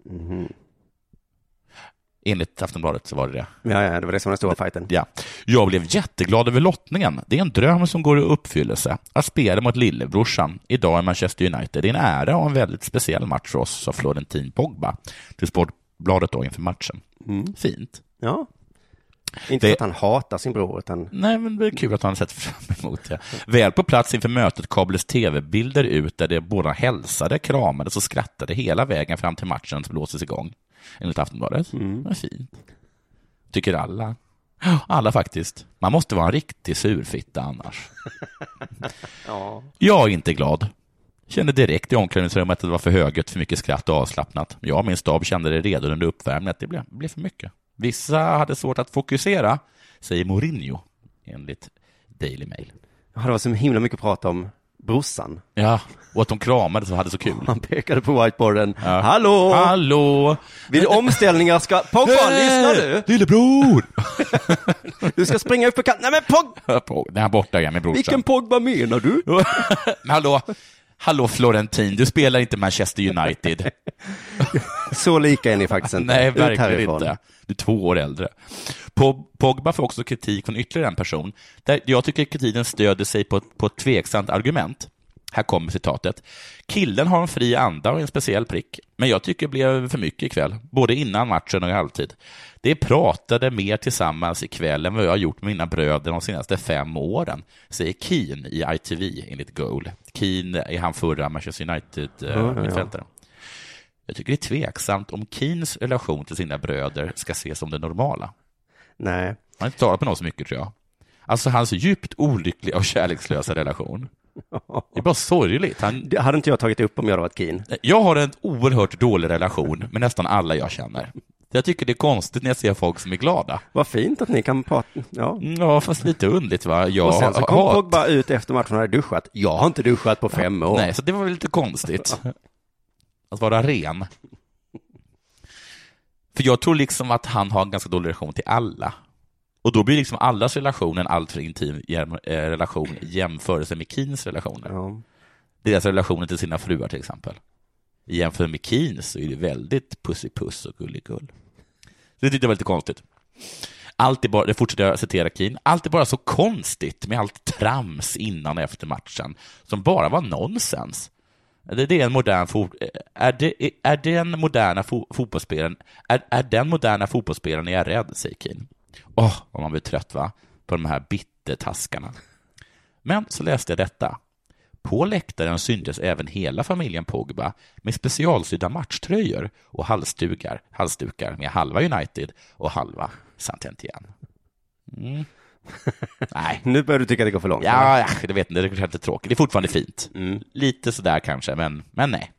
C: Enligt Aftonbladet så var det det.
E: Ja, ja, det var det som var den stora fighten.
C: Ja. Jag blev jätteglad över lottningen. Det är en dröm som går i uppfyllelse. Att spela mot lillebrorsan idag i Manchester United det är en ära och en väldigt speciell match för oss, sa Florentin Pogba till Sportbladet då inför matchen. Fint.
E: Ja. Inte
C: Det-
E: för att han hatar sin bror, utan
C: Nej, men det är kul att han har sett fram emot det. Väl på plats inför mötet kablades tv-bilder ut där de båda hälsade, kramades och skrattade hela vägen fram till matchen som blåses igång, enligt Aftonbladet. Det var fint. Tycker alla. Alla faktiskt. Man måste vara en riktig surfitta annars. Jag är inte glad. Kände direkt i omklädningsrummet att det var för högt, för mycket skratt och avslappnat. Jag och min stab kände det redan under uppvärmningen att det blev, blev för mycket. Vissa hade svårt att fokusera, säger Mourinho, enligt Daily Mail.
E: ja, det var så himla mycket prat om brorsan.
C: Ja, och att de kramades och hade så kul.
E: Han pekade på whiteboarden. Hallå!
C: Hallå!
E: Vid omställningar ska...
C: [laughs]
E: Pogba, lyssnar du?
C: Lillebror! [laughs]
E: Du ska springa upp på kanten. Nej men Pogba!
C: Hör på, Den här borta igen med brorsan.
E: Vilken Pogba menar du?
C: Men hallå, hallå Florentin, du spelar inte Manchester United.
E: Så lika är ni faktiskt inte.
C: Nej,
E: Ut
C: verkligen
E: härifrån.
C: inte. Du är två år äldre. Po- Pogba får också kritik från ytterligare en person. Där jag tycker kritiken stöder sig på, på ett tveksamt argument. Här kommer citatet. Killen har en fri anda och en speciell prick, men jag tycker det blev för mycket ikväll, både innan matchen och i halvtid. Det pratade mer tillsammans ikväll än vad jag har gjort med mina bröder de senaste fem åren, säger Keane i ITV enligt Goal. Keane är han förra Manchester eh,
E: ja, ja.
C: United-mittfältaren. Jag tycker det är tveksamt om Keens relation till sina bröder ska ses som det normala.
E: Nej.
C: Han har inte talat med någon så mycket, tror jag. Alltså hans djupt olyckliga och kärlekslösa relation. Det är bara sorgligt. Han,
E: Det hade inte jag tagit upp om jag hade varit keen.
C: jag har en oerhört dålig relation med nästan alla jag känner. Jag tycker det är konstigt när jag ser folk som är glada.
E: Vad fint att ni kan prata. Ja.
C: Ja, fast lite underligt va? Jag
E: Och sen så kom
C: har-
E: Pogba ut efter matchen och hade duschat. Jag har inte duschat på fem år.
C: Nej, så det var väl lite konstigt. Att vara ren. För jag tror liksom att han har en ganska dålig relation till alla. Och då blir liksom allas relation en alltför intim jäm- eh, relation i jämförelse med Keens relationer.
E: Ja.
C: Deras relationer till sina fruar till exempel. I jämförelse med Keens så är det väldigt puss i puss och gulligull. Så det tyckte jag var lite konstigt. Allt är bara, det fortsätter jag citera Keen, allt är bara så konstigt med allt trams innan och efter matchen som bara var nonsens. Är det, det en modern fot, är det, är den moderna fo, fotbollsspelaren, är, är den moderna fotbollsspelaren jag är rädd, säger Keen. Åh, vad man blir trött va, på de här bittertaskarna. Men så läste jag detta. På läktaren syntes även hela familjen Pogba med specialsydda matchtröjor och halsdukar, halsdukar med halva United och halva Saint-Étienne. Mm. Nej,
E: Nu börjar du tycka att det går för långt. [laughs]
C: Ja, ja, det vet inte, det är kanske inte tråkigt. Det är fortfarande fint. Lite sådär kanske, men, men nej.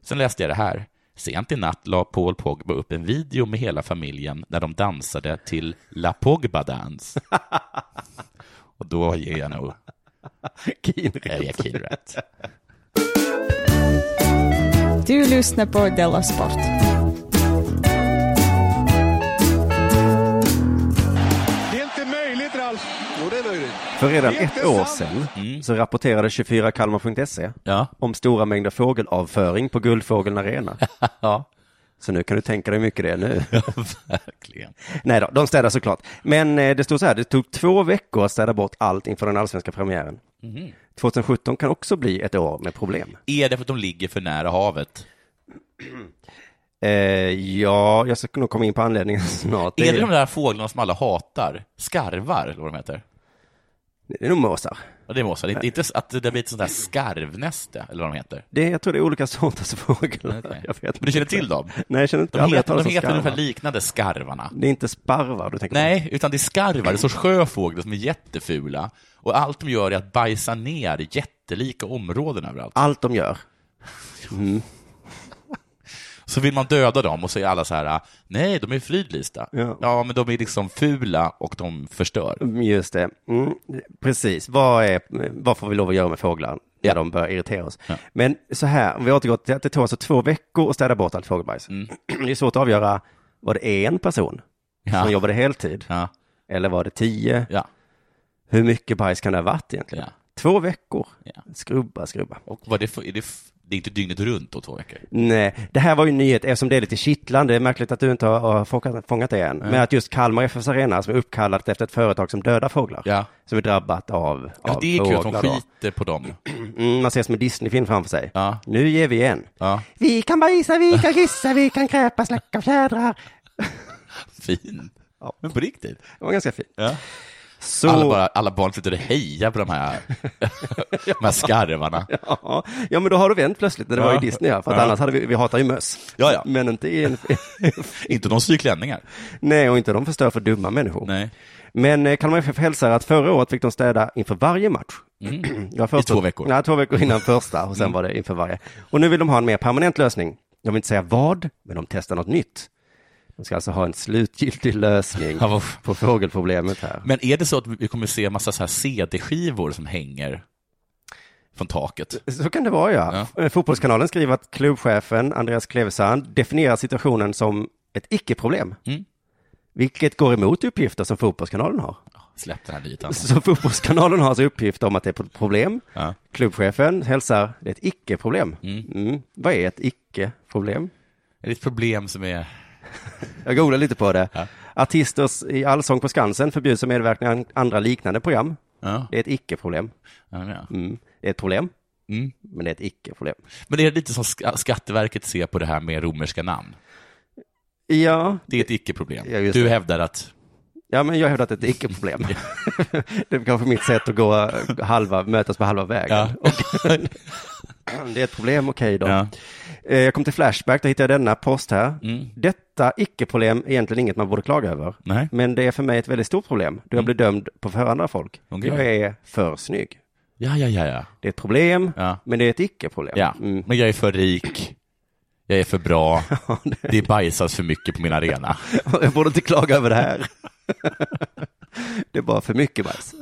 C: Sen läste jag det här. Sent i natt la Paul Pogba upp en video med hela familjen när de dansade till La Pogba Dance. Och då ger jag nog
E: Kinrik.
C: Erik Kiel rätt.
G: Du lyssnar på Della Sport.
B: Det är inte möjligt, Ralf. Jo, det är möjligt.
E: För redan ett år sedan
C: Mm.
E: så rapporterade 24kalmar.se
C: Ja.
E: om stora mängder fågelavföring på Guldfågeln Arena.
C: [laughs] Ja.
E: Så nu kan du tänka dig hur mycket det är nu.
C: ja, [laughs] verkligen.
E: Nej då, de städar såklart. Men eh, det stod så här, det tog två veckor att städa bort allt inför den allsvenska premiären.
C: Mhm.
E: 2017 kan också bli ett år med problem.
C: Är det för att de ligger för nära havet?
E: Eh, ja, jag ska nog komma in på anledningen [laughs] snart.
C: är det de där fåglarna som alla hatar? Skarvar, eller vad de heter?
E: det är nog måsar.
C: Ja, det är måsar. Det är inte att det blir ett sånt där skarvnäste, eller vad de heter.
E: Det, jag tror det är olika sorters [laughs] fåglar.
C: Okej.
E: Jag vet
C: Men du känner till dem?
E: Nej, jag känner inte.
C: De
E: aldrig hört
C: heter,
E: talas
C: de
E: om
C: heter
E: skarvar.
C: ungefär liknande skarvarna.
E: Det är inte sparvar du tänker på?
C: Nej, utan det är skarvar, en sorts sjöfåglar som är jättefula. Och allt de gör är att bajsa ner jättelika områden överallt.
E: Allt de gör.
C: Så vill man döda dem och så är alla så här, nej, de är fridlysta.
E: Ja.
C: men de är liksom fula och de förstör.
E: Mm, Just det. Mm, precis. Vad, är, vad får vi lov att göra med fåglar när
C: Ja.
E: de börjar irritera oss?
C: Ja.
E: Men så här, om vi återgår till att det tog alltså två veckor att städa bort allt fågelbajs.
C: Mm.
E: [clears throat] Det är svårt att avgöra, var det en person
C: Ja.
E: som jobbade heltid?
C: Ja,
E: Eller var det tio?
C: ja,
E: Hur mycket bajs kan det ha varit egentligen?
C: ja.
E: Två veckor.
C: Ja.
E: Skrubba, skrubba.
C: Och vad det, för- är det, f- det är inte dygnet runt då, två veckor?
E: Nej, det här var ju en nyhet eftersom det är lite kittlande. Det är märkligt att du inte har, har fångat, fångat det än. Men att just Kalmar FFs arena som är uppkallat efter ett företag som dödar fåglar.
C: Ja.
E: Som är drabbat av,
C: Ja,
E: av
C: Alltså, det är kul att de
E: fåglar då.
C: skiter på dem.
E: Mm, man ser som en Disney-film framför sig.
C: Ja.
E: Nu ger vi igen.
C: Ja.
E: Vi kan bajsa, vi kan kissa, vi kan kräpa, släcka fjädrar.
C: Fin.
E: Ja.
C: Men på riktigt.
E: Det var ganska fint.
C: Ja.
E: Så,
C: Alla, bara, alla barn sitter och hejar på de här, de här skarvarna.
E: [laughs] ja, ja, men då har du vänt plötsligt när det
C: Ja.
E: var i Disney, ja, för att
C: Ja.
E: annars hade vi, vi hatar ju möss.
C: Ja, ja.
E: Men inte i en... [laughs]
C: Inte de syr klänningar.
E: Nej, och inte de förstör för dumma människor.
C: Nej.
E: Men eh, Kalmar FF hälsar att förra året fick de städa inför varje match. [clears throat] Det var först-
C: Mm. I två veckor. Mm.
E: Nej, två veckor innan första och sen var det inför varje. Och nu vill de ha en mer permanent lösning. De vill inte säga vad, men de testar något nytt. De ska alltså ha en slutgiltig lösning
C: Ja, vad-
E: på fågelproblemet här.
C: Men är det så att vi kommer se massa så här CD-skivor som hänger från taket?
E: Så kan det vara ja. Eh, Fotbollskanalen skriver att klubbchefen Andreas Klevesand definierar situationen som ett icke-problem.
C: Mm.
E: Vilket går emot uppgifter som Fotbollskanalen har.
C: Släpp den här nyheten.
E: Så Fotbollskanalen har alltså uppgifter om att det är ett problem.
C: Ja.
E: Klubbchefen hälsar, det är ett icke-problem. Mm. Vad är ett icke-problem?
C: Är det ett problem som är...
E: Jag googlar lite på det. Artister i Allsång på Skansen förbjuds att medverka i andra liknande program.
C: Ja.
E: Det är ett icke-problem.
C: Ja, men ja.
E: Mm. Det är ett problem,
C: Mm.
E: men det är ett icke-problem.
C: Men det är lite som Sk- Skatteverket ser på det här med romerska namn.
E: Ja,
C: Det är ett icke-problem.
E: Ja, just
C: du
E: det.
C: hävdar att...
E: ja, men jag hävdar att det är ett
C: [laughs]
E: icke-problem. [laughs] det är kanske mitt sätt att gå eh, halva, mötas på halva vägen.
C: Ja.
E: [laughs] Det är ett problem, okej då.
C: Ja.
E: Eh, Jag kom till Flashback, där hittade jag denna post här. Detta icke-problem är egentligen inget man borde klaga över.
C: Mm. Nej. Mm.
E: Men det är för mig ett väldigt stort problem, då jag blir dömd på förhand av folk.
C: Okej.
E: Jag är för snygg.
C: Ja, ja, ja, ja.
E: Det är ett problem,
C: Ja.
E: men det är ett icke-problem.
C: ja.
E: Mm.
C: Men jag är för rik. Jag är för
E: [laughs]
C: bra. Det bajsas för mycket på min arena.
E: Jag borde inte klaga över det här. [laughs] det är bara för mycket bajs.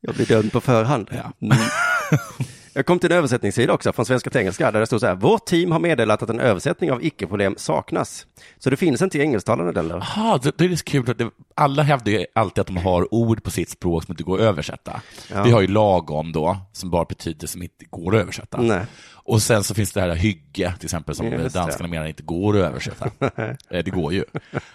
E: jag blir dömd på förhand. Mm. Jag kom till en översättningssida också från svenska till engelska där det stod så här. Vårt team har meddelat att en översättning av icke-problem saknas. Så det finns inte i engelsktalande delar.
C: Jaha, då då är det så kul att det, alla hävdar ju alltid att de har ord på sitt språk som inte går att översätta. Vi har ju lagom då, som bara betyder som inte går att översätta.
E: Nej.
C: Och sen så finns det här hygge, till exempel, som
E: Mm. Just det.
C: danskarna menar inte går att
E: [laughs]
C: översätta. Eh, det går ju.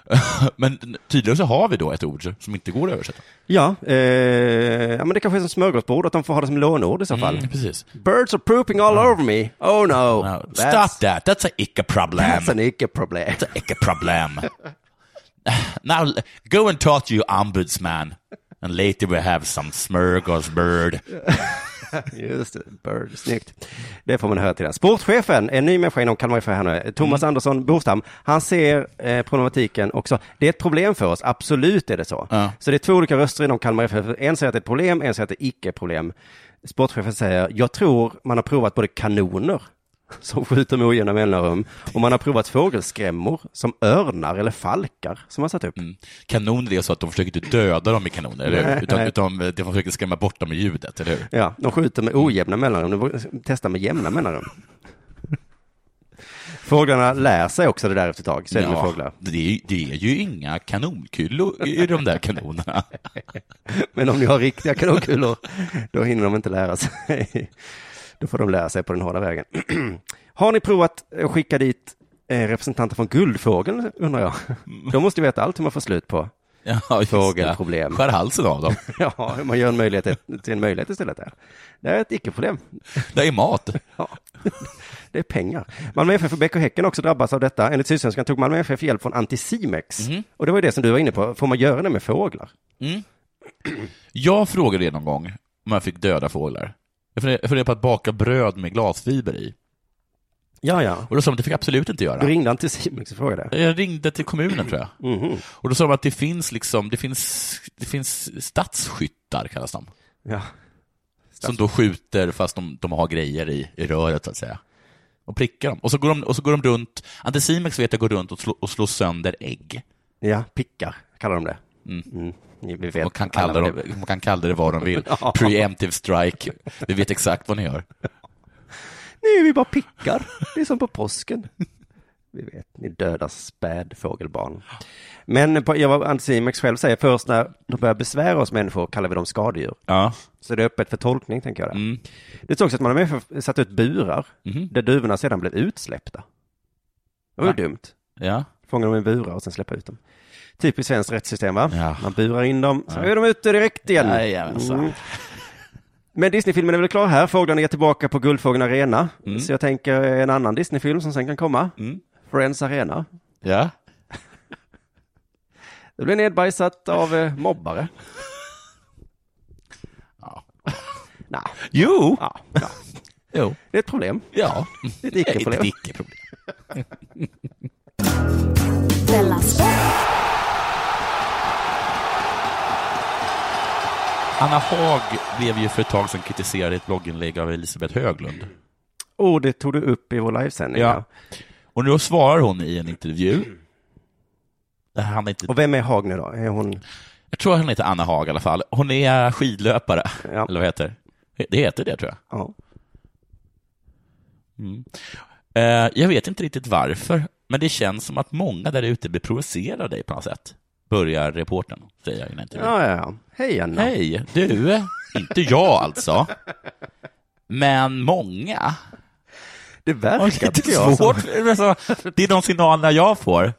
C: [laughs] Men tydligen så har vi då ett ord som inte går att översätta.
E: Ja, eh, ja men det kanske är som smörgåsbord att de får ha det som låneord i så fall.
C: Precis.
E: Birds are pooping all over me. Oh no.
C: No,
E: That's-
C: stop that, that's a icke-problem.
E: That's an icke-problem.
C: Icke-problem. Now, go and talk to your ombudsman. And later we have some smörgåsbird.
E: Just det, Bird, snyggt. Det får man höra till den. Sportchefen, en ny människa inom Kalmar FF här nu, Thomas Andersson Bostam, han ser eh, problematiken också. Det är ett problem för oss, absolut är det så.
C: Ja.
E: Så det är två olika röster inom Kalmar FF. En säger att det är ett problem, en säger att det icke är problem. Sportchefen säger, jag tror man har provat både kanoner [laughs] som skjuter med ojämna mellanrum och man har provat fågelskrämmor som örnar eller falkar som man satt upp.
C: Kanoner är så att de försöker inte döda dem med kanoner, eller hur?
E: Nej.
C: Utan, utan de försöker skrämma bort dem med ljudet, eller hur?
E: Ja, de skjuter med ojämna mellanrum, de testar med jämna mellanrum. Fåglarna lär sig också det där efter ett tag, så är det med fåglar.
C: det, är, det är ju inga kanonkulor i de där
E: [laughs]
C: kanonerna.
E: Men om ni har riktiga kanonkulor, då hinner de inte lära sig. Då får de lära sig på den hårda vägen. Har ni provat att skicka dit eh, representanter från Guldfågeln, undrar jag? De måste ju veta allt hur man får slut på.
C: Ja, just det.
E: Fågelproblem.
C: Skär halsen av dem.
E: Ja, hur man gör en möjlighet till en möjlighet istället där. Det är ett icke-problem.
C: Det är mat.
E: Ja, [laughs] det är pengar. Malmö FF och BK Häcken har också drabbats av detta. Enligt Sydsvenskan tog Malmö FF hjälp från Anticimex.
C: Mhm.
E: Och det var ju det som du var inne på. Får man göra det med fåglar?
C: Jag frågade er någon gång om jag fick döda fåglar. Jag funderade jag funderade på att baka bröd med glasfiber i.
E: Ja, ja.
C: Och då sa de att det fick jag absolut inte
E: Du
C: göra.
E: ringde Anticimex och frågade.
C: Jag ringde till kommunen, tror jag. [clears throat] Och då sa de att det finns, liksom, det finns, det finns stadsskyttar, kallas de.
E: Ja.
C: Som då skjuter fast de, de har grejer i, i röret, så att säga. Och prickar dem. Och så går de, och så går de runt, Anticimex vet jag går runt och, slå, och slår sönder ägg.
E: ja, pickar kallar de det. Mm. Ni- Vi vet
C: Man kan,
E: alla
C: kalla
E: vad det-
C: dem, man kan kalla det vad de [laughs] vill. Preemptive strike. Vi vet exakt vad ni gör.
E: Nej, vi bara pickar. Det är som på påsken. Vi vet, ni dödar spädfågelbarn. Men på, jag var Anticimex själv säger, först när de börjar besvära oss människor kallar vi dem skadedjur.
C: Ja.
E: Så det är öppet för tolkning, tänker jag. Där.
C: Mm.
E: Det står också att man har med- satt ut burar där duvorna sedan blev utsläppta. Det var ju dumt.
C: Mhm. Ja.
E: Fånga dem i burar och sen släppa ut dem. Typiskt svenskt rättssystem, va?
C: Ja.
E: Man burar in dem, så är de ute direkt igen. Mm.
C: Jajamensan.
E: Men Disneyfilmen är väl klar här? Fåglarna är tillbaka på Guldfågeln Arena.
C: Mm.
E: Så jag tänker en annan Disneyfilm som sen kan komma. Friends Arena.
C: Ja.
E: Det blir nedbajsat av eh,
C: [laughs]
E: mobbare. ja.
C: Jo.
E: Ja, ja.
C: Jo.
E: Det är ett problem.
C: [laughs] Ja.
E: Det är ett icke-problem.
C: Ett icke-problem.
D: Della Sport,
C: Anna Haag blev ju för ett tag sedan kritiserad i ett blogginlägg av Elisabeth Höglund.
E: Och Oh, det tog du upp i vår livesändning.
C: Ja.
E: Ja.
C: Och nu svarar hon i en intervju. Det här handlar inte...
E: Och vem är Haag nu då? Är hon...
C: Jag tror hon heter Anna Haag i alla fall. Hon är skidlöpare.
E: Ja.
C: Eller vad heter det? Det heter det, tror jag.
E: Ja.
C: Eh, jag vet inte riktigt varför, men det känns som att många där ute blir provocerade av dig på något sätt. Börjar reportern, säger jag i en intervju.
E: Ja, ja, ja. Hej Anna.
C: Hej, du. Inte jag alltså. Men många.
E: Det
C: Och
E: verkar,
C: det
E: tycker
C: är
E: jag. Som,
C: svårt. Alltså, det är de signalerna jag får.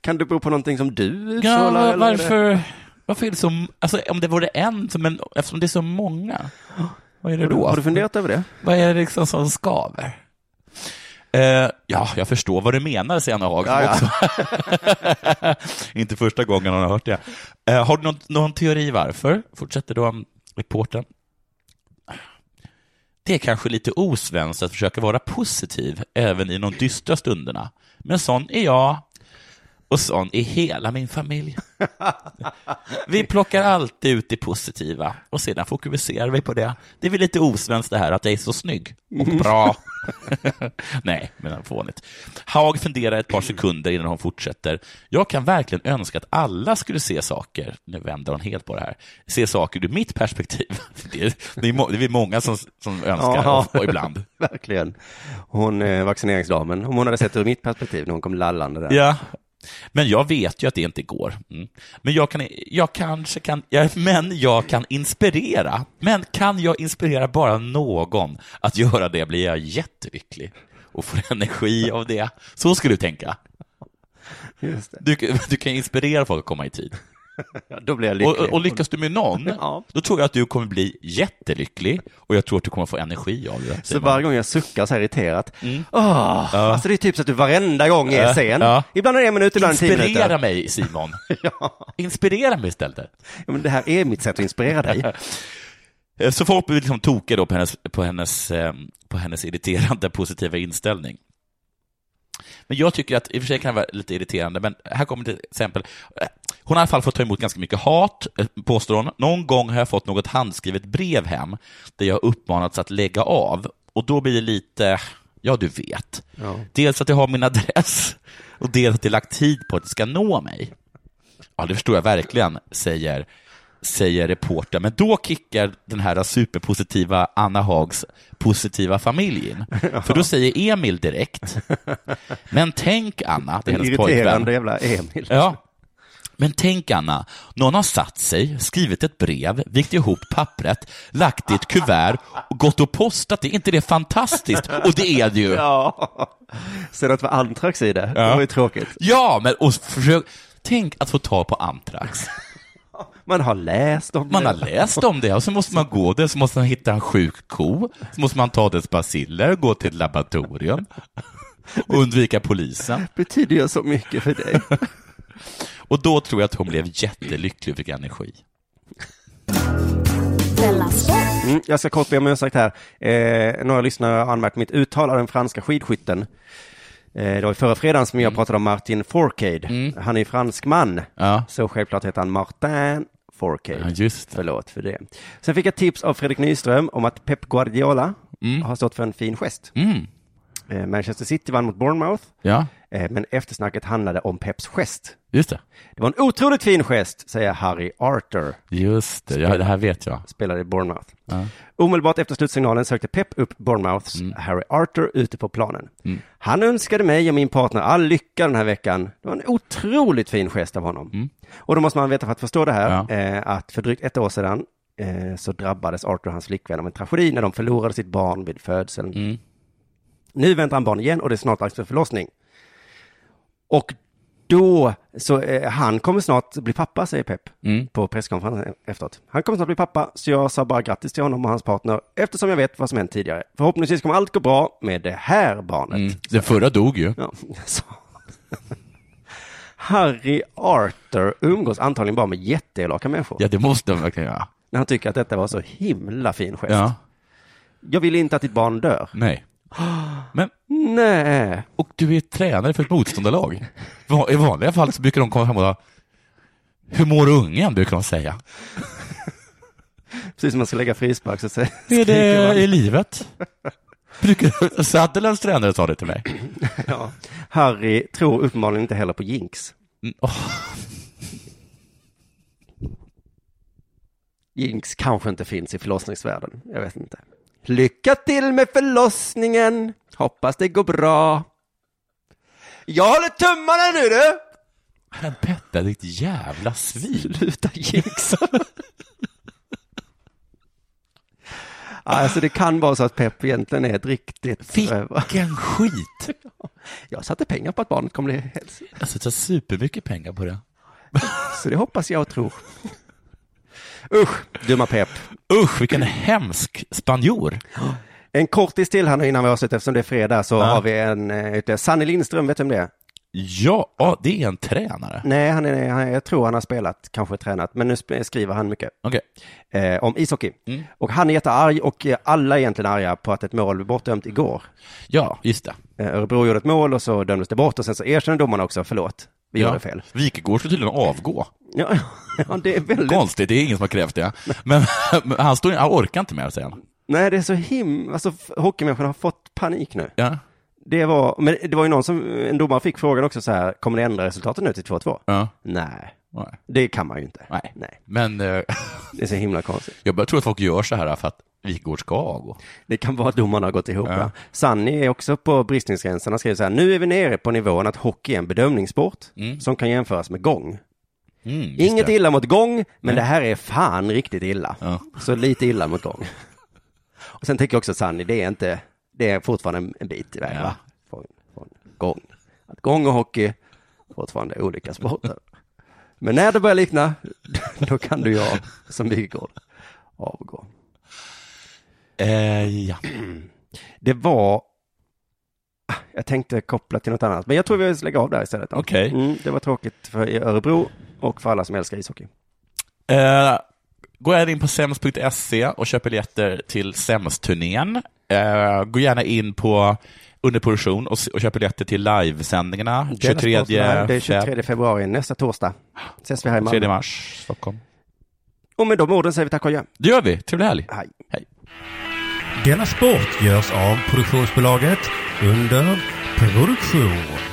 E: kan det bero på någonting som du
C: Ja,
E: utsålar?
C: var-
E: eller är det-
C: varför, varför är det så... Alltså, om det vore en, men eftersom det är så många, vad är det då?
E: Har du funderat
C: [laughs]
E: över det?
C: Vad är det liksom som skaver? Eh, ja, jag förstår vad du menar, säger Anna Haag. som Också. [laughs] Inte första gången hon har hört det. Eh, har du någon, någon teori varför? Fortsätter då um, reportern. Det är kanske lite osvenskt att försöka vara positiv även i de dystra stunderna. Men sån är jag och sån är hela min familj. Vi plockar alltid ut det positiva och sedan fokuserar vi på det. Det är väl lite osvenskt det här att jag är så snygg och bra. Nej, men fånigt. Haag funderar ett par sekunder innan hon fortsätter. Jag kan verkligen önska att alla skulle se saker, nu vänder hon helt på det här, se saker ur mitt perspektiv. [laughs] Det är, det är, må, det är många som, som önskar,
E: Ja.
C: och, och ibland.
E: Verkligen. Hon eh, vaccineringsdamen, om hon hade sett det ur mitt perspektiv när hon kom lallande där.
C: Ja. Men jag vet ju att det inte går. Mm. Men jag, kan, jag kanske kan, ja, men jag kan inspirera. Men kan jag inspirera bara någon att göra det blir jag jättelycklig och får [laughs] energi av det. Så skulle du tänka.
E: Just det.
C: Du, du kan inspirera folk att komma i tid.
E: Då blir jag
C: Och,
E: lycklig.
C: och lyckas du med någon,
E: Ja.
C: då tror jag att du kommer bli jättelycklig och jag tror att du kommer få energi av det.
E: Så
C: Simon.
E: varje gång jag suckar så här irriterat. Åh, Alltså det är typ så att du varenda gång är
C: Mm. Ja,
E: sen.
C: ja.
E: Ibland är det en minut, ibland tio
C: Inspirera
E: minuter.
C: mig,
E: [laughs]
C: Simon. Inspirera mig istället.
E: Ja, men det här är mitt sätt att inspirera dig.
C: Eh, Så folk blir liksom tokiga då på hennes, på, hennes, eh, på hennes irriterande positiva inställning. Men jag tycker att, i och för sig kan det vara lite irriterande, men här kommer till exempel, eh, hon har i alla fall fått ta emot ganska mycket hat, eh, påstår hon. Någon gång har jag fått något handskrivet brev hem, där jag uppmanats att lägga av, och då blir det lite, ja du vet. Dels att jag har min adress, och dels att jag lagt tid på att det ska nå mig. Ja, det förstår jag verkligen, säger, säger reportern. Men då kickar den här superpositiva Anna Hags positiva familj in. För då säger Emil direkt, men tänk Anna, det är
E: Den
C: hennes pojkvän.
E: irriterande jävla Emil.
C: Ja. Men tänk Anna, någon har satt sig, skrivit ett brev, vikt ihop pappret, lagt det i ett kuvert och gått och postat det. Är inte det fantastiskt? Och det är det ju.
E: Ja. Ser du att det var antrax i det? Det var ju tråkigt.
C: Ja, men och försök, tänk att få ta på Antrax.
E: Man har läst om
C: Man
E: det.
C: har läst om det och så måste man gå där, så måste man hitta en sjuk ko, så måste man ta dess baciller, gå till ett laboratorium och undvika polisen.
E: Betyder ju så mycket för dig.
C: Och då tror jag att hon blev jättelycklig och fick energi.
D: Della Sport.
E: Mm, jag ska kort be om ursäkt här. Eh, några lyssnare har anmärkt mitt uttal av den franska skidskytten. Eh, det var i förra fredagen som jag
C: Mm.
E: pratade om Martin Fourcade. Han är ju fransman,
C: Ja.
E: så självklart heter han Martin Fourcade.
C: Ja, just det.
E: Förlåt för det. Sen fick jag tips av Fredrik Nyström om att Pep Guardiola har stått för en fin gest.
C: Mm.
E: Eh, Manchester City vann mot Bournemouth,
C: Ja,
E: eh, men eftersnacket handlade om Peps gest.
C: just det.
E: Det var en otroligt fin gest, säger Harry Arthur.
C: Just det, ja, det här vet jag.
E: spelade i Bournemouth. Omedelbart efter slutsignalen sökte Pep upp Bournemouths Harry Arthur ute på planen. Han önskade mig och min partner all lycka den här veckan. Det var en otroligt fin gest av honom. Och då måste man veta för att förstå det här,
C: Ja.
E: eh, att för drygt ett år sedan eh, så drabbades Arthur och hans flickvän av en tragedi när de förlorade sitt barn vid födseln. Nu väntar han barn igen och det är snart dags för förlossning. Och då, så eh, han kommer snart bli pappa, säger Pep
C: Mm.
E: på presskonferensen efteråt. Han kommer snart bli pappa, så jag sa bara grattis till honom och hans partner eftersom jag vet vad som hänt tidigare. Förhoppningsvis kommer allt gå bra med det här barnet.
C: Den förra dog ju.
E: Ja, [laughs] så. Harry Arthur umgås antagligen bara med jätteelaka människor.
C: Ja, det måste de verkligen göra.
E: När han tycker att detta var så himla fin gest.
C: Ja,
E: Jag vill inte att ditt barn dör.
C: nej. Men,
E: Nej.
C: och du är tränare för ett motståndarlag. Va- I vanliga fall så brukar de komma fram och säga, hur mår ungen, brukar de säga.
E: Precis som man ska lägga frispark
C: [laughs]
E: så säger
C: Hur är
E: skriker
C: det
E: man.
C: i livet? [laughs] Brukar- Sunderlands tränare sa det till mig.
E: Ja. Harry tror uppenbarligen inte heller på jinx.
C: Mm, åh,
E: Jinx kanske inte finns i förlossningsvärlden. Jag vet inte. Lycka till med förlossningen! Hoppas det går bra. Jag håller tummarna nu du!
C: Men Petter, ditt jävla svin.
E: Sluta jinxa. [laughs] alltså det kan vara så att Pepp egentligen är ett riktigt rövar.
C: Vilken skit.
E: Jag satte pengar på att barnet kommer bli hälsa.
C: Alltså, det tar supermycket pengar på det.
E: Så det hoppas jag och tror. Usch, dumma Pepp.
C: Usch, vilken hemsk spanjor.
E: En kortis till här nu innan vi avslutar eftersom det är fredag så har vi en eh, ute. Sanne Lindström, vet du vem det är?
C: Ja, ja, det är en tränare.
E: Nej, han är, han, jag tror han har spelat, kanske tränat, men nu sp- skriver han mycket
C: Okej.
E: eh, om ishockey.
C: Mm.
E: Och han är jättearg och eh, alla är egentligen arga på att ett mål blev bortdömt igår.
C: Ja, just det.
E: Eh, Örebro gjorde ett mål och så dömdes det bort och sen så erkänner domarna också, förlåt, vi
C: Ja.
E: gjorde fel.
C: Wikegård ska tydligen avgå.
E: Ja, [laughs] ja, det är väldigt...
C: Konstigt, det är ingen som har krävt det. Men, [laughs] men han, står, han orkar inte mer, säger han.
E: Nej, det är så him... Alltså, f- hockeymänniskorna har fått panik nu.
C: Ja,
E: Det var... Men det var ju någon som, en domare fick frågan också så här, kommer ni ändra resultatet nu till 2-2?
C: ja.
E: Nej,
C: Nej.
E: det kan man ju inte.
C: Nej.
E: Nej.
C: Men eh, [laughs]
E: Det är så himla konstigt.
C: jag börjar tro att folk gör så här för att Wikegård ska avgå.
E: Det kan vara att domarna har gått ihop. Ja. Sanni är också på bristningsgränsen. Han skriver så här, nu är vi nere på nivån att hockey är en bedömningssport som kan jämföras med gång.
C: Mm, just
E: Inget
C: Mm. det.
E: illa mot gång, men det här är fan riktigt illa.
C: Ja.
E: Så lite illa mot
C: [laughs]
E: gång. Och sen tänker jag också Sanni, det är inte, det är fortfarande en- en bit iväg
C: Ja.
E: va? Från, från gång. Att gång och hockey fortfarande är olika sporter. Men när det börjar likna, [laughs] då kan du jag som Bygdegård avgå.
C: Eh, ja.
E: Det var, Ah, jag tänkte koppla till något annat, men jag tror vi lägger av där istället. då.
C: Okej.
E: Mm, det var tråkigt för i Örebro och för alla som älskar ishockey.
C: Eh, gå gärna in på sems.se E och köp biljetter till Sems-turnén. Eh, gå gärna in på underproduktion och, s- och köp biljetter till livesändningarna. 23,
E: Det
C: 23
E: är 23 februari, nästa torsdag. Ses vi här i Malmö.
C: 3 mars, Stockholm.
E: Och med de orden säger vi tack och adjö.
C: Det gör vi. Trevlig helg.
E: Hej.
C: Hej.
A: Denna sport görs av produktionsbolaget under produktion.